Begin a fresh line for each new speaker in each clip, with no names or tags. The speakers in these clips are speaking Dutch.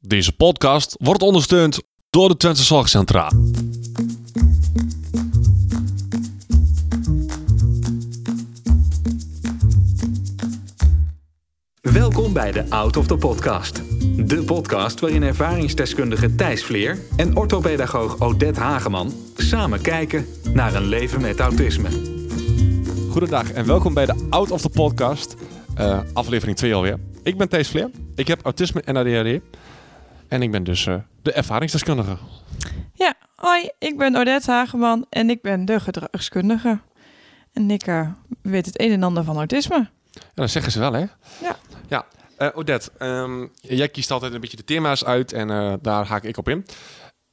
Deze podcast wordt ondersteund door de Twente Zorgcentra.
Welkom bij de Out of the Podcast. De podcast waarin ervaringsdeskundige Thijs Vleer en orthopedagoog Odette Hageman samen kijken naar een leven met autisme.
Goedendag en welkom bij de Out of the Podcast, eh, aflevering 2 alweer. Ik ben Thijs Vleer, ik heb autisme en ADHD en ik ben dus eh, de ervaringsdeskundige.
Ja, hoi, ik ben Odette Hageman en ik ben de gedragskundige. En ik eh, weet het een en ander van autisme.
Ja, dat zeggen ze wel, hè?
Ja.
Ja. Eh, Odette, ehm, jij kiest altijd een beetje de thema's uit en eh, daar haak ik op in.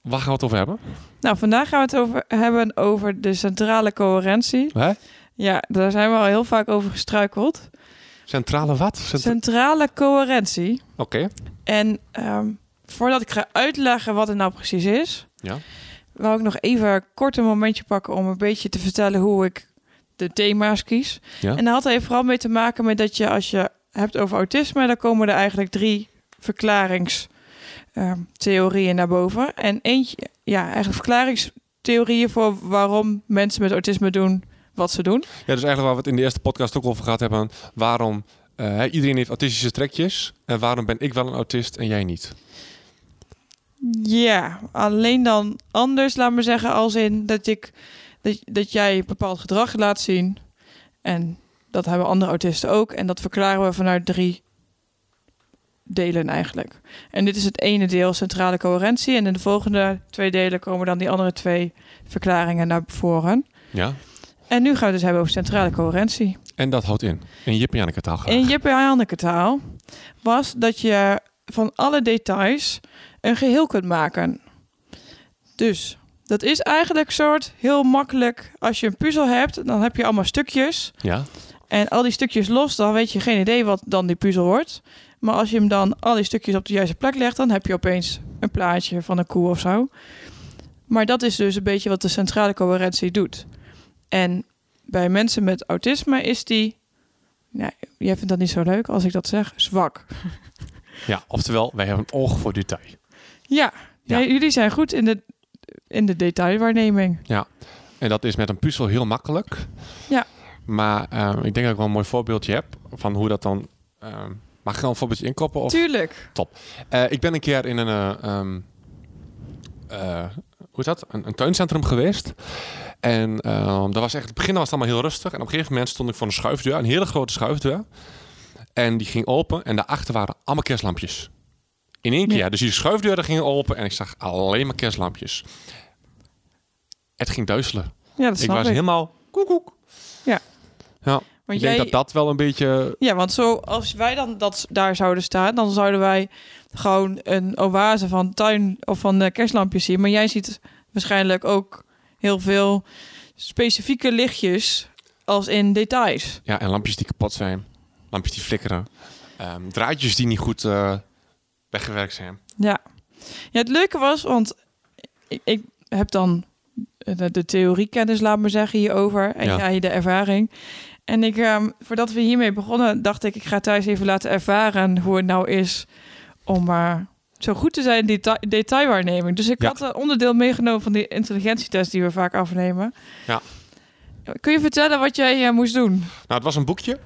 Waar gaan we het over hebben?
Nou, vandaag gaan we het over, hebben over de centrale coherentie.
Hè?
Ja, daar zijn we al heel vaak over gestruikeld.
Centrale wat? Cent-
Centrale coherentie.
Oké.
En ehm, voordat ik ga uitleggen wat het nou precies is,
Ja.
wou ik nog even kort een momentje pakken om een beetje te vertellen hoe ik de thema's kies.
Ja.
En dat had er vooral mee te maken met dat je als je hebt over autisme, dan komen er eigenlijk drie verklaringstheorieën naar boven. En eentje, ja, eigenlijk verklaringstheorieën voor waarom mensen met autisme doen wat ze doen.
Ja, dus eigenlijk waar we het in de eerste podcast ook over gehad hebben. Waarom eh, hè, iedereen heeft autistische trekjes. En waarom ben ik wel een autist en jij niet?
Ja, alleen dan anders, laat maar zeggen, als in dat ik dat, dat jij bepaald gedrag laat zien. En dat hebben andere autisten ook. En dat verklaren we vanuit drie delen eigenlijk. En dit is het ene deel centrale coherentie. En in de volgende twee delen komen dan die andere twee verklaringen naar voren.
Ja.
En nu gaan we het dus hebben over centrale coherentie
En dat houdt in. In Jip en Janneke taal graag.
in Jippe en Janneke taal was dat je van alle details een geheel kunt maken. Dus dat is eigenlijk soort heel makkelijk. Als je een puzzel hebt, dan heb je allemaal stukjes.
Ja.
En al die stukjes los, dan weet je geen idee wat dan die puzzel wordt. Maar als je hem dan al die stukjes op de juiste plek legt, dan heb je opeens een plaatje van een koe of zo. Maar dat is dus een beetje wat de centrale coherentie doet. En bij mensen met autisme is die. Nou, jij vindt dat niet zo leuk als ik dat zeg. Zwak.
ja. Oftewel, wij hebben een oog voor detail.
Ja,
Ja.
Nee, jullie zijn goed in de, in de detailwaarneming.
En dat is met een puzzel heel makkelijk.
Ja.
Maar eh, ik denk dat ik wel een mooi voorbeeldje heb van hoe dat dan. eh, mag ik dan een voorbeeldje inkoppen? Of,
Tuurlijk.
Eh, ik ben een keer in een. eh, ehm, eh, hoe is dat? Een, een tuincentrum geweest. En ehm dat was echt, het begin was het allemaal heel rustig. En op een gegeven moment stond ik voor een schuifdeur, een hele grote schuifdeur. En die ging open en daarachter waren allemaal kerstlampjes. In één keer.
Ja.
Dus die schuifdeuren gingen open en ik zag alleen maar kerstlampjes. Het ging duizelen.
Ja, dat
Ik
snap
was
ik.
helemaal koekoek.
Ja.
ja. ik
Want
denk
jij-
dat dat wel een beetje...
Ja, want zo, als wij dan dat, daar zouden staan, dan zouden wij gewoon een oase van tuin of van eh, kerstlampjes zien. Maar jij ziet waarschijnlijk ook heel veel specifieke lichtjes als in details.
Ja, en lampjes die kapot zijn. Lampjes die flikkeren. Ehm, draadjes die niet goed eh, weggewerkt zijn.
Ja. ja, het leuke was, want ik, ik heb dan eh, de, de theoriekennis, laat maar zeggen, hierover. En
Ja.
jij de ervaring. En ik, ehm, voordat we hiermee begonnen, dacht ik, ik ga thuis even laten ervaren hoe het nou is om maar zo goed te zijn in deta- detailwaarneming. Dus ik
Ja.
had een onderdeel meegenomen van die intelligentietest die we vaak afnemen.
Ja.
Kun je vertellen wat jij eh, moest doen?
Nou, het was een boekje.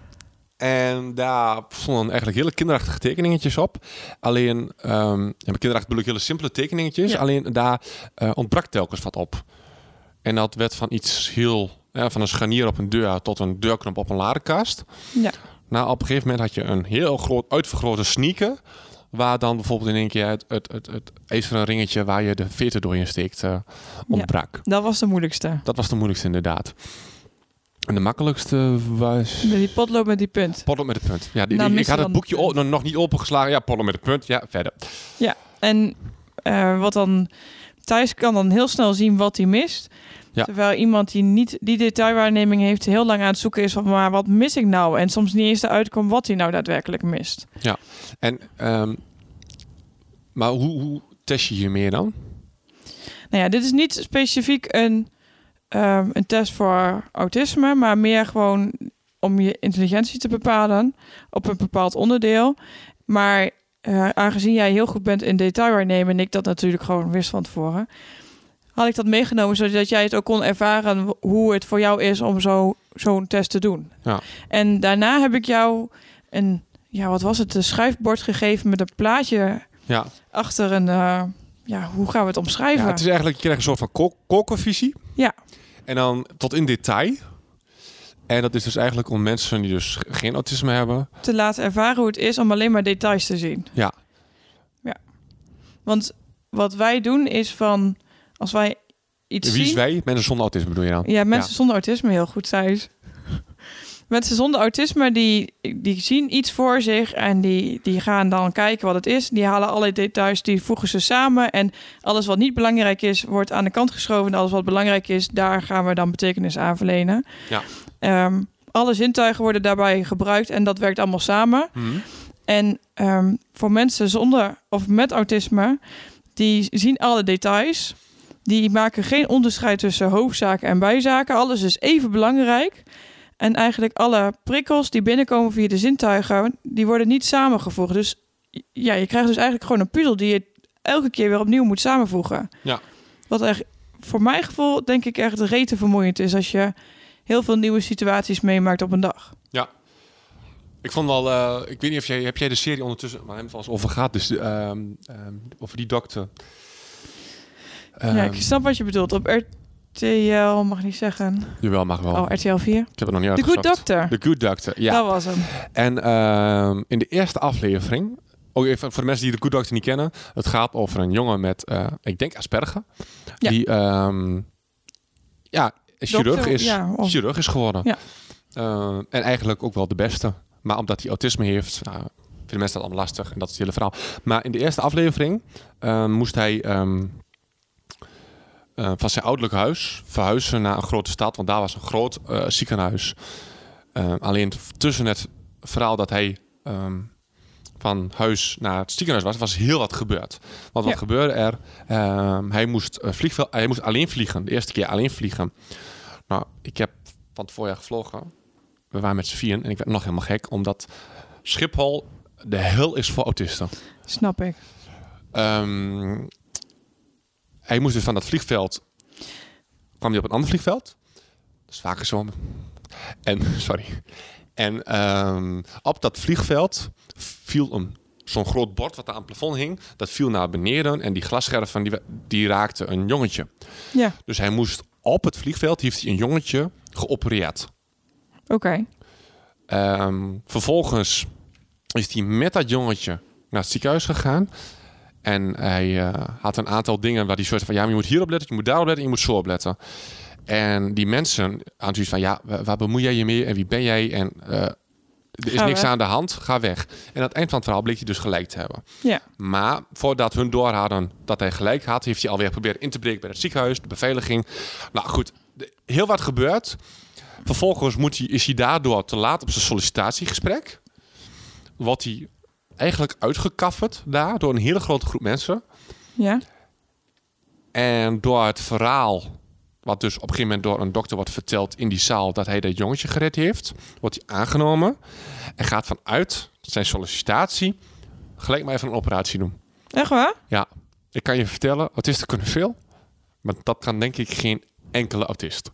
En daar stonden eigenlijk hele kinderachtige tekeningetjes op. Alleen, ehm ja, met kinderachtig bedoel ik hele simpele tekeningetjes.
Ja.
Alleen daar eh, ontbrak telkens wat op. En dat werd van iets heel... eh, van een scharnier op een deur tot een deurknop op een ladenkast.
Ja.
Nou, op een gegeven moment had je een heel groot uitvergrote sneaker. Waar dan bijvoorbeeld in één keer het, het, het, het ijzeren ringetje waar je de veter door in steekt eh, ontbrak.
Dat was de moeilijkste.
Dat was de moeilijkste inderdaad. En de makkelijkste was...
Met die potlood met die punt.
Potlood met een punt. Ja, die,
Nou,
die- ik
mis je
had het
dan
boekje
een
o- nog- nog niet opengeslagen. Ja, potlood met een punt. Ja, verder.
En eh, wat dan Thijs kan dan heel snel zien wat hij mist.
Ja.
Terwijl iemand die niet die detailwaarneming heeft, heel lang aan het zoeken is van maar wat mis ik nou? En soms niet eens eruit komt wat hij nou daadwerkelijk mist.
En, ehm, maar hoe, hoe test je je meer dan?
Nou ja, dit is niet specifiek een, ehm, een test voor autisme, maar meer gewoon om je intelligentie te bepalen op een bepaald onderdeel. Maar eh, aangezien jij heel goed bent in detail waarnemen en ik dat natuurlijk gewoon wist van tevoren, had ik dat meegenomen zodat jij het ook kon ervaren w- hoe het voor jou is om zo, zo'n test te doen.
Ja.
En daarna heb ik jou een, ja, wat was het, een schuifbord gegeven met een plaatje
Ja.
achter een, eh, ja, hoe gaan we het omschrijven?
ja, het is eigenlijk, je krijgt een soort van kok- kokkenvisie.
Ja.
En dan tot in detail. En dat is dus eigenlijk om mensen die dus geen autisme hebben.
te laten ervaren hoe het is om alleen maar details te zien.
Ja.
Ja. Want wat wij doen is van als wij iets
Wie is
zien.
wij? Mensen zonder autisme bedoel je dan?
Ja, mensen zonder autisme heel goed thuis. mensen zonder autisme die, die zien iets voor zich en die, die gaan dan kijken wat het is. Die halen alle details, die voegen ze samen. En alles wat niet belangrijk is, wordt aan de kant geschoven. En alles wat belangrijk is, daar gaan we dan betekenis aan verlenen.
Ja.
Ehm, alle zintuigen worden daarbij gebruikt en dat werkt allemaal samen.
Mhm.
En ehm, voor mensen zonder of met autisme, die zien alle details. Die maken geen onderscheid tussen hoofdzaken en bijzaken. Alles is even belangrijk. En eigenlijk alle prikkels die binnenkomen via de zintuigen, die worden niet samengevoegd. Dus ja, je krijgt dus eigenlijk gewoon een puzzel die je elke keer weer opnieuw moet samenvoegen.
Ja.
Wat echt, voor mijn gevoel, denk ik echt rete vermoeiend is als je heel veel nieuwe situaties meemaakt op een dag.
Ik vond wel, eh, ik weet niet of jij, heb jij de serie ondertussen, maar hem vast over gaat, dus ehm, ehm, over die dokter.
ja,
Ehm,
ik snap wat je bedoelt. Op RTL mag ik niet zeggen.
Jawel, mag wel.
Oh, RTL 4.
ik heb het nog niet
The Good
uitgezocht.
Doctor.
The Good Doctor, ja.
Dat was hem.
En ehm, in de eerste aflevering, ook even voor de mensen die de Good Doctor niet kennen, het gaat over een jongen met, eh, ik denk Asperger,
Ja.
die ehm, ja, chirurg,
Dokter,
is,
ja, of-
chirurg is geworden.
Ja.
Eh, en eigenlijk ook wel de beste. Maar omdat hij autisme heeft, nou, vinden mensen dat allemaal lastig. En dat is het hele verhaal. Maar in de eerste aflevering ehm, moest hij ehm, eh, van zijn ouderlijk huis verhuizen naar een grote stad. Want daar was een groot eh, ziekenhuis. Eh, alleen t- tussen het verhaal dat hij ehm, van huis naar het ziekenhuis was, was heel wat gebeurd. Want wat
Ja.
gebeurde er? Ehm, hij, moest, eh, vliegvel- hij moest alleen vliegen. De eerste keer alleen vliegen. Nou, ik heb van het voorjaar gevlogen. We waren met z'n vieren en ik werd nog helemaal gek. Omdat Schiphol de hel is voor autisten.
Snap ik.
Ehm, hij moest dus van dat vliegveld. kwam hij op een ander vliegveld. Dat is vaker zo. En, sorry. En ehm, op dat vliegveld viel een, zo'n groot bord wat daar aan het plafond hing. Dat viel naar beneden en die glasscherven die, we- die raakte een jongetje.
Ja,
Dus hij moest op het vliegveld, heeft hij een jongetje geopereerd.
oké.
Ehm, vervolgens is hij met dat jongetje naar het ziekenhuis gegaan. En hij eh, had een aantal dingen waar hij soort van... ja, maar je moet hierop letten, je moet daarop letten, je moet zo op letten. En die mensen aan zoiets van... ja, wa- waar bemoei jij je mee en wie ben jij? En eh, er is
Ga
niks
weg.
aan de hand, ga weg. En aan het eind van het verhaal bleek hij dus gelijk te hebben.
Ja,
Maar voordat hun door hadden dat hij gelijk had, heeft hij alweer geprobeerd in te breken bij het ziekenhuis, de beveiliging. Nou goed, de- heel wat gebeurt. Vervolgens moet hij, is hij daardoor te laat op zijn sollicitatiegesprek. Wat hij eigenlijk uitgekafferd daar door een hele grote groep mensen.
ja,
En door het verhaal, wat dus op een gegeven moment door een dokter wordt verteld in die zaal, dat hij dat jongetje gered heeft, wordt hij aangenomen. En gaat vanuit zijn sollicitatie gelijk maar even een operatie doen.
echt waar?
Ja, ik kan je vertellen, autisten kunnen veel. Maar dat kan denk ik geen enkele autist.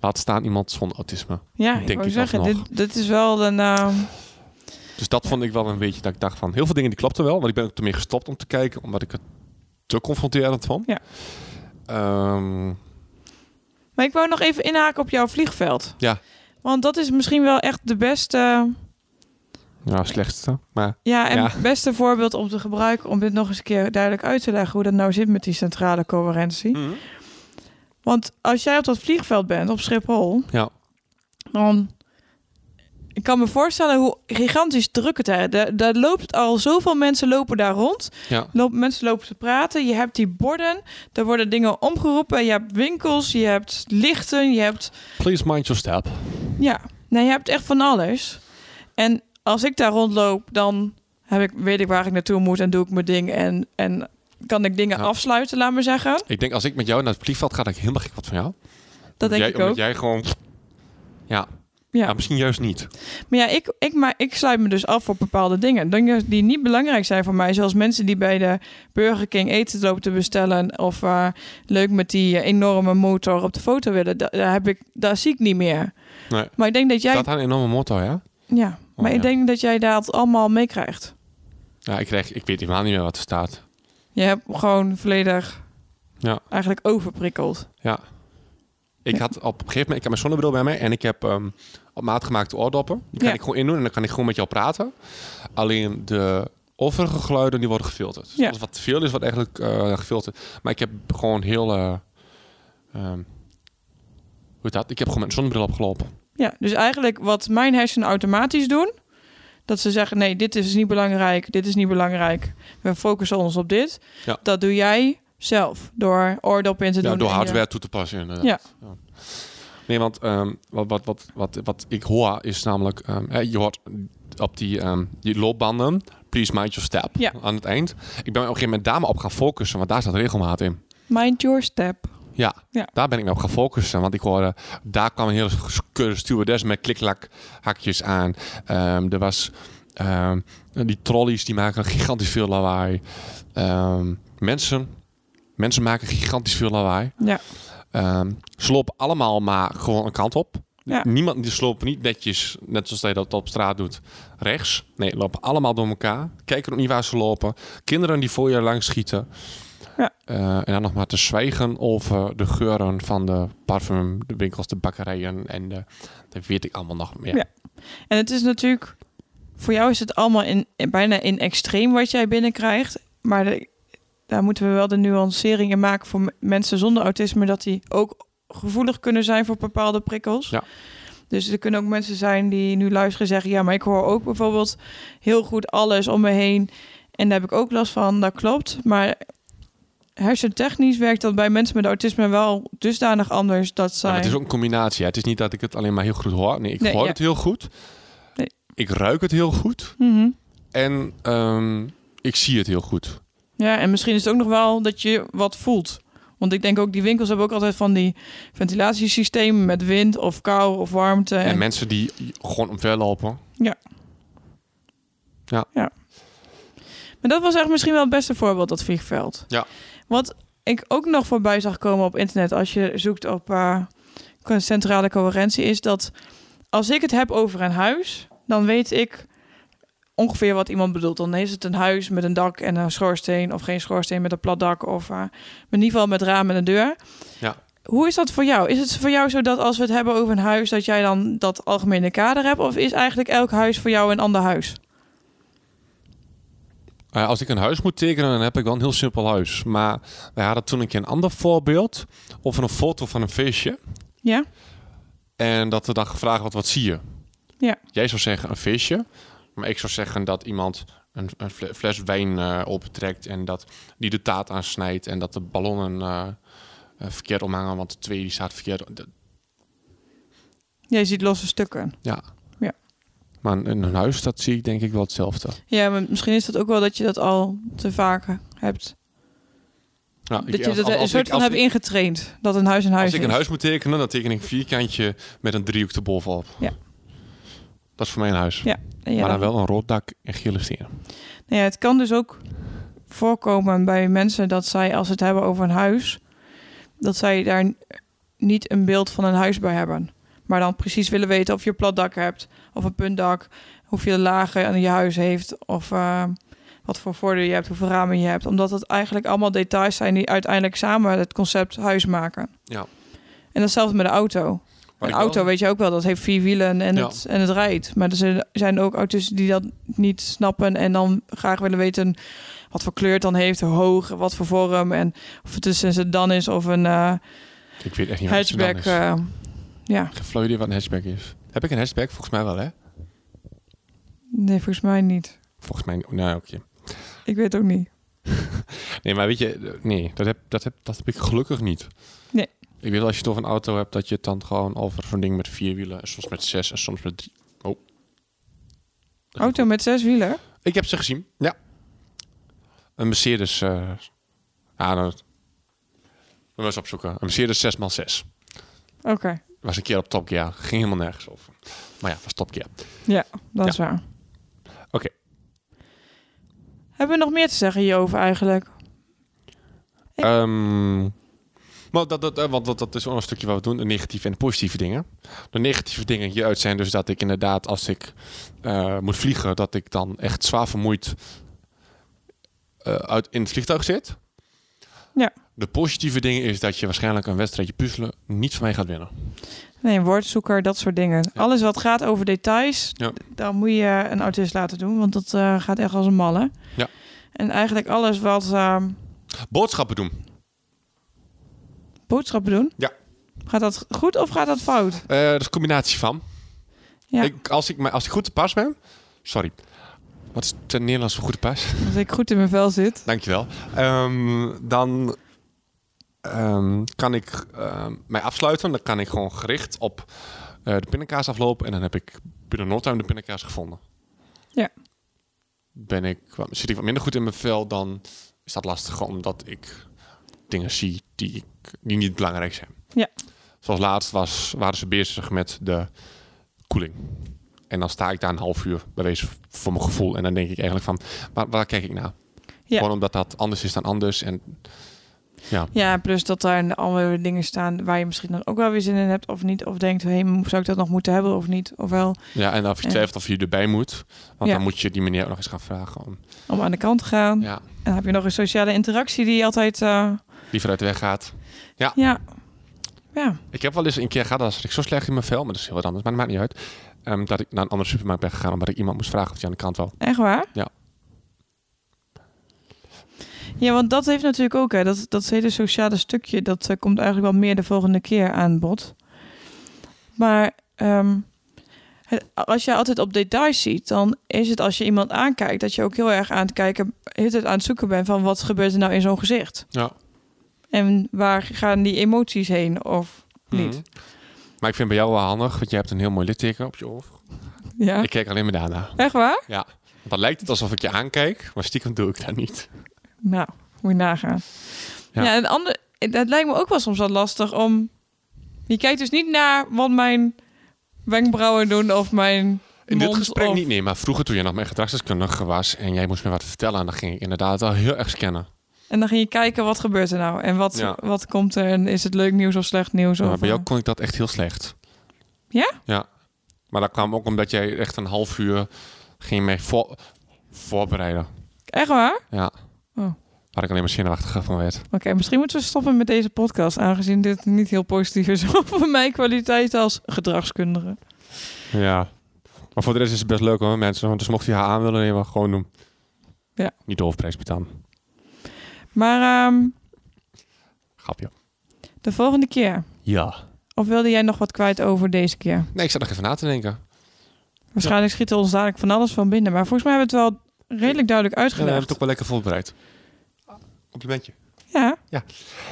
Laat staan iemand zonder autisme.
Ja,
Denk
ik wou
ik
zeggen,
alsnog.
dit, dit is wel een... ehm,
Dus dat vond ik wel een beetje dat ik dacht van... Heel veel dingen die klopten wel, want ik ben ook ermee gestopt om te kijken. Omdat ik het te confronterend vond.
Ja.
Ehm,
Maar ik wou nog even inhaken op jouw vliegveld.
Ja.
Want dat is misschien wel echt de beste,
ja, slechtste. Maar
ja, en
Ja.
beste voorbeeld om te gebruiken... om dit nog eens een keer duidelijk uit te leggen... hoe dat nou zit met die centrale coherentie. Want als jij op dat vliegveld bent, op Schiphol...
ja,
Dan, ik kan me voorstellen hoe gigantisch druk het is. Daar, daar loopt al zoveel mensen lopen daar rond.
ja,
Loop, mensen lopen te praten. Je hebt die borden. Er worden dingen omgeroepen. Je hebt winkels. Je hebt lichten. Je hebt
please mind your step.
ja, nou, je hebt echt van alles. En als ik daar rondloop, dan heb ik, weet ik waar ik naartoe moet en doe ik mijn ding en en kan ik dingen
Ja.
afsluiten, laat maar zeggen.
Ik denk als ik met jou naar het vliegveld ga, dat ik helemaal gek wat van jou.
Dat denk
jij,
ik
omdat
ook.
jij gewoon... Ja, Ja, misschien juist niet.
Maar ja, ik, ik, maar ik sluit me dus af voor bepaalde dingen. Dingen die niet belangrijk zijn voor mij. Zoals mensen die bij de Burger King eten lopen te bestellen. Of eh, leuk met die eh, enorme motor op de foto willen. Da- Daar, heb ik, daar zie ik niet meer.
Nee.
Maar ik denk dat jij...
Dat had een enorme motto, ja?
Ja, maar
ja.
ik denk dat jij dat allemaal meekrijgt.
Ja, ik, krijg, ik weet helemaal niet meer wat er staat.
Je hebt gewoon volledig
Ja.
eigenlijk overprikkeld.
Ja. Ik
Ja.
had op een gegeven moment, ik heb mijn zonnebril bij mij en ik heb ehm, op maat gemaakte oordoppen. Die kan
Ja.
ik gewoon indoen en dan kan ik gewoon met jou praten. Alleen de overige geluiden die worden gefilterd.
Ja.
Dus als wat te veel is, wordt eigenlijk eh, gefilterd. Maar ik heb gewoon heel, eh, ehm, hoe heet dat? Ik heb gewoon met een zonnebril opgelopen.
Ja, dus eigenlijk wat mijn hersenen automatisch doen... dat ze zeggen, nee, dit is niet belangrijk, dit is niet belangrijk. We focussen ons op dit.
Ja.
Dat doe jij zelf door oordoppen in te
Ja,
doen.
door
en je-
hardware toe te passen inderdaad.
Ja.
Nee, want ehm, wat, wat, wat, wat, wat ik hoor is namelijk... ehm, hè, je hoort op die, ehm, die loopbanden... Please mind your step
Ja.
aan het eind. Ik ben op een gegeven moment daar maar op gaan focussen... want daar staat regelmaat in.
Mind your step.
Ja,
Ja.
daar ben ik me op gaan focussen. Want ik hoorde, daar kwam een hele keurige stewardess met kliklak hakjes aan. Ehm, er was ehm, die trolleys, die maken gigantisch veel lawaai. Ehm, mensen, mensen maken gigantisch veel lawaai.
Ja.
Ehm, ze lopen allemaal maar gewoon een kant op.
Ja.
Niemand die slopen niet netjes, net zoals dat je dat op straat doet, rechts. Nee, lopen allemaal door elkaar. Kijken ook niet waar ze lopen. Kinderen die voor je langs schieten.
Ja.
Eh, en dan nog maar te zwijgen over de geuren van de parfum, de winkels, de bakkerijen en de, dat weet ik allemaal nog meer.
Ja. En het is natuurlijk... Voor jou is het allemaal in, in- bijna in extreem wat jij binnenkrijgt. Maar de- daar moeten we wel de nuancering in maken voor m- mensen zonder autisme. Dat die ook gevoelig kunnen zijn voor bepaalde prikkels.
Ja.
Dus er kunnen ook mensen zijn die nu luisteren en zeggen... ja, maar ik hoor ook bijvoorbeeld heel goed alles om me heen. En daar heb ik ook last van, dat klopt. Maar hersentechnisch werkt dat bij mensen met autisme wel dusdanig anders... dat
Ja,
zij...
maar het is ook een combinatie. hè. Het is niet dat ik het alleen maar heel goed hoor. Nee, ik
Nee,
hoor
ja.
het heel goed.
Nee.
Ik ruik het heel goed.
Mhm.
En ehm, ik zie het heel goed.
Ja, en misschien is het ook nog wel dat je wat voelt. Want ik denk ook, die winkels hebben ook altijd van die ventilatiesystemen met wind of kou of warmte.
En
En-
mensen die gewoon omverlopen.
Maar dat was echt misschien wel het beste voorbeeld, dat vliegveld.
Ja.
Wat ik ook nog voorbij zag komen op internet als je zoekt op eh, centrale coherentie, is dat als ik het heb over een huis, dan weet ik ongeveer wat iemand bedoelt. Dan is het een huis met een dak en een schoorsteen, of geen schoorsteen met een plat dak, of eh, in ieder geval met raam en een deur.
Ja.
Hoe is dat voor jou? Is het voor jou zo dat als we het hebben over een huis, dat jij dan dat algemene kader hebt? Of is eigenlijk elk huis voor jou een ander huis?
Eh, als ik een huis moet tekenen, dan heb ik wel een heel simpel huis. Maar wij hadden toen een keer een ander voorbeeld. Of een foto van een feestje.
Ja?
En dat er dan gevraagd wordt, wat zie je?
Ja.
Jij zou zeggen een feestje. Maar ik zou zeggen dat iemand een, een fle- fles wijn eh, optrekt. En dat die de taart aansnijdt. En dat de ballonnen eh, eh, verkeerd omhangen. Want de twee die staat verkeerd. Dat-
Jij ziet losse stukken.
Ja.
Ja.
Maar in een huis, dat zie ik denk ik wel hetzelfde.
Ja, maar misschien is dat ook wel dat je dat al te vaak hebt.
Ja, Nou, ik-
dat je
als-
dat
als-
er een
als
soort
ik-
van
als
hebt ingetraind. Dat een huis een huis
Als ik een
is.
huis moet tekenen, dan teken ik een vierkantje met een driehoek erbovenop.
Ja.
Dat is voor mijn huis.
Ja,
maar
dan-
dan wel een rood dak en gele stenen.
Nou ja, het kan dus ook voorkomen bij mensen dat zij, als ze het hebben over een huis, dat zij daar niet een beeld van een huis bij hebben. Maar dan precies willen weten of je een plat dak hebt, of een puntdak, hoeveel lagen aan je huis heeft, of eh, wat voor voordeur je hebt, hoeveel ramen je hebt. Omdat het eigenlijk allemaal details zijn die uiteindelijk samen het concept huis maken.
Ja.
En datzelfde met de auto.
Maar
een
ik
auto
wel-
weet je ook wel, dat heeft vier wielen en,
Ja.
het, en het rijdt. Maar er zijn- zijn ook autisten die dat niet snappen en dan graag willen weten wat voor kleur het dan heeft, hoe hoog, wat voor vorm en of het een sedan is of een eh,
Ik weet echt niet wat
hatchback.
het is.
eh, ja,
Ik heb flauw idee wat een hatchback is. Heb ik een hatchback? Volgens mij wel, hè?
nee, volgens mij niet.
Volgens mij... Nou, oké.
Ik weet ook niet.
Nee, maar weet je... eh, Nee, dat heb, dat, heb, dat heb ik gelukkig niet.
Nee.
Ik weet wel, als je toch een auto hebt, dat je het dan gewoon over zo'n ding met vier wielen... en soms met zes en soms met drie... Oh.
Auto met zes wielen?
Ik heb ze gezien, ja. Een Mercedes... eh ja, dat... We moeten eens opzoeken. Een Mercedes 6x6.
Oké.
was een keer op Top Gear. Ging helemaal nergens over. Maar ja, was Top Gear.
Ja, dat
Ja.
is waar.
Oké.
Hebben we nog meer te zeggen hierover eigenlijk?
Ehm, maar dat, dat, eh, want dat, dat is wel een stukje wat we doen. De negatieve en de positieve dingen. De negatieve dingen hieruit zijn dus dat ik inderdaad als ik eh, moet vliegen... dat ik dan echt zwaar vermoeid eh, uit, in het vliegtuig zit.
Ja.
De positieve dingen is dat je waarschijnlijk een wedstrijdje puzzelen niet van mij gaat winnen.
Nee, een woordzoeker, dat soort dingen.
Ja.
Alles wat gaat over details,
Ja.
d- daar moet je een autist laten doen, want dat eh, gaat echt als een malle.
Ja.
En eigenlijk alles wat ehm,
Boodschappen doen.
boodschappen doen.
Ja.
Gaat dat goed of gaat dat fout?
Eh dat is een combinatie van.
Ja,
Ik, als, ik, me- als ik goed te pas ben... Sorry. Wat is het Nederlands voor goed te pas?
als ik goed in mijn vel zit.
Dankjewel. Ehm dan ehm, kan ik ehm, mij afsluiten. Dan kan ik gewoon gericht op eh, de pindakaas aflopen. En dan heb ik binnen no time de pindakaas gevonden.
Ja.
Ben ik, wat- zit ik wat minder goed in mijn vel, dan is dat lastiger. Omdat ik dingen zie die, ik, die niet belangrijk zijn.
Ja.
Zoals laatst was, waren ze bezig met de koeling. En dan sta ik daar een half uur bij wezen voor mijn gevoel. En dan denk ik eigenlijk van, waar, waar kijk ik naar?
Ja.
Gewoon omdat dat anders is dan anders. En
Ja, plus dat daar een- alweer dingen staan waar je misschien dan ook wel weer zin in hebt of niet. Of denkt, hé, hey, zou ik dat nog moeten hebben of niet? Of wel
Ja, en of je
Ja.
twijfelt of je erbij moet. Want
Ja. Hm.
dan moet je die meneer ook nog eens gaan vragen. Om,
om aan de kant te gaan.
ja,
En dan heb je nog een sociale interactie die altijd... eh,
die vooruit de weg gaat.
ja. ja,
Ik heb wel eens een keer gehad, dat was ik zo slecht in mijn vel. Maar dat is heel wat anders, maar dat maakt niet uit. Ehm, dat ik naar een andere supermarkt ben gegaan omdat ik iemand moest vragen of die aan de kant wou.
echt waar?
Ja.
Ja, want dat heeft natuurlijk ook, hè, dat, dat hele sociale stukje, dat eh, komt eigenlijk wel meer de volgende keer aan bod. Maar ehm, het- als je altijd op details ziet, dan is het als je iemand aankijkt, dat je ook heel erg aan het kijken, heel de tijd aan het zoeken bent van wat gebeurt er nou in zo'n gezicht?
Ja.
En waar gaan die emoties heen of niet?
Mhm. Maar ik vind bij jou wel handig, want je hebt een heel mooi litteken op je oor.
Ja,
Ik kijk alleen maar daarna.
echt waar?
Want dan lijkt het alsof ik je aankijk, maar stiekem doe ik dat niet.
Nou, moet je nagaan. Ja,
Ja.
en ander, het lijkt me ook wel soms wat lastig om. Je kijkt dus niet naar wat mijn wenkbrauwen doen of mijn.
In dit
mond
gesprek
of-
niet, nee. Maar vroeger toen je nog mijn gedragsdeskundige was en jij moest me wat vertellen... en dan ging ik inderdaad al heel erg scannen.
En dan ging je kijken wat gebeurt er nou en wat,
Ja.
wat komt er en is het leuk nieuws of slecht nieuws?
Ja,
of,
maar bij jou
eh,
kon ik dat echt heel slecht.
Ja?
Ja. Maar dat kwam ook omdat jij echt een half uur ging mee voor, voorbereiden.
Echt waar?
Ja.
Oh.
Waar ik alleen maar zenuwachtiger van werd.
Oké, misschien moeten we stoppen met deze podcast, aangezien dit niet heel positief is over mijn kwaliteit als gedragskundige.
Ja. Maar voor de rest is het best leuk hoor, mensen. Want dus mocht je haar aan willen nemen, gewoon doen.
Ja.
Niet de hoofdprijs betalen.
Maar ehm,
Grapje.
de volgende keer.
Ja.
Of wilde jij nog wat kwijt over deze keer?
Nee, ik zat nog even na te denken.
Waarschijnlijk schieten ons dadelijk van alles van binnen. Maar volgens mij hebben we het wel redelijk duidelijk
En we hebben
uitgelegd.
het ook wel lekker voorbereid. Complimentje.
Ja,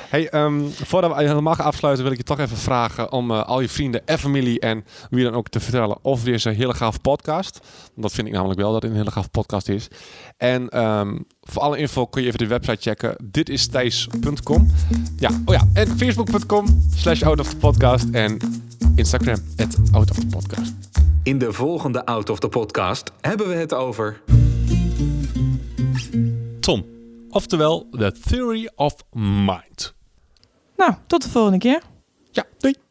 Hey, ehm, voordat we helemaal gaan afsluiten, wil ik je toch even vragen om eh, al je vrienden en familie en wie dan ook te vertellen over deze hele gaaf podcast. Want Dat vind ik namelijk wel dat het een hele gaaf podcast is. En ehm, voor alle info kun je even de website checken. Dit is thijs.com. Ja, oh ja, en facebook.com slash out of the podcast en Instagram at out of the podcast.
In de volgende Out of the Podcast hebben we het over
Tom, oftewel The Theory of Mind.
nou, tot de volgende keer.
Ja, doei.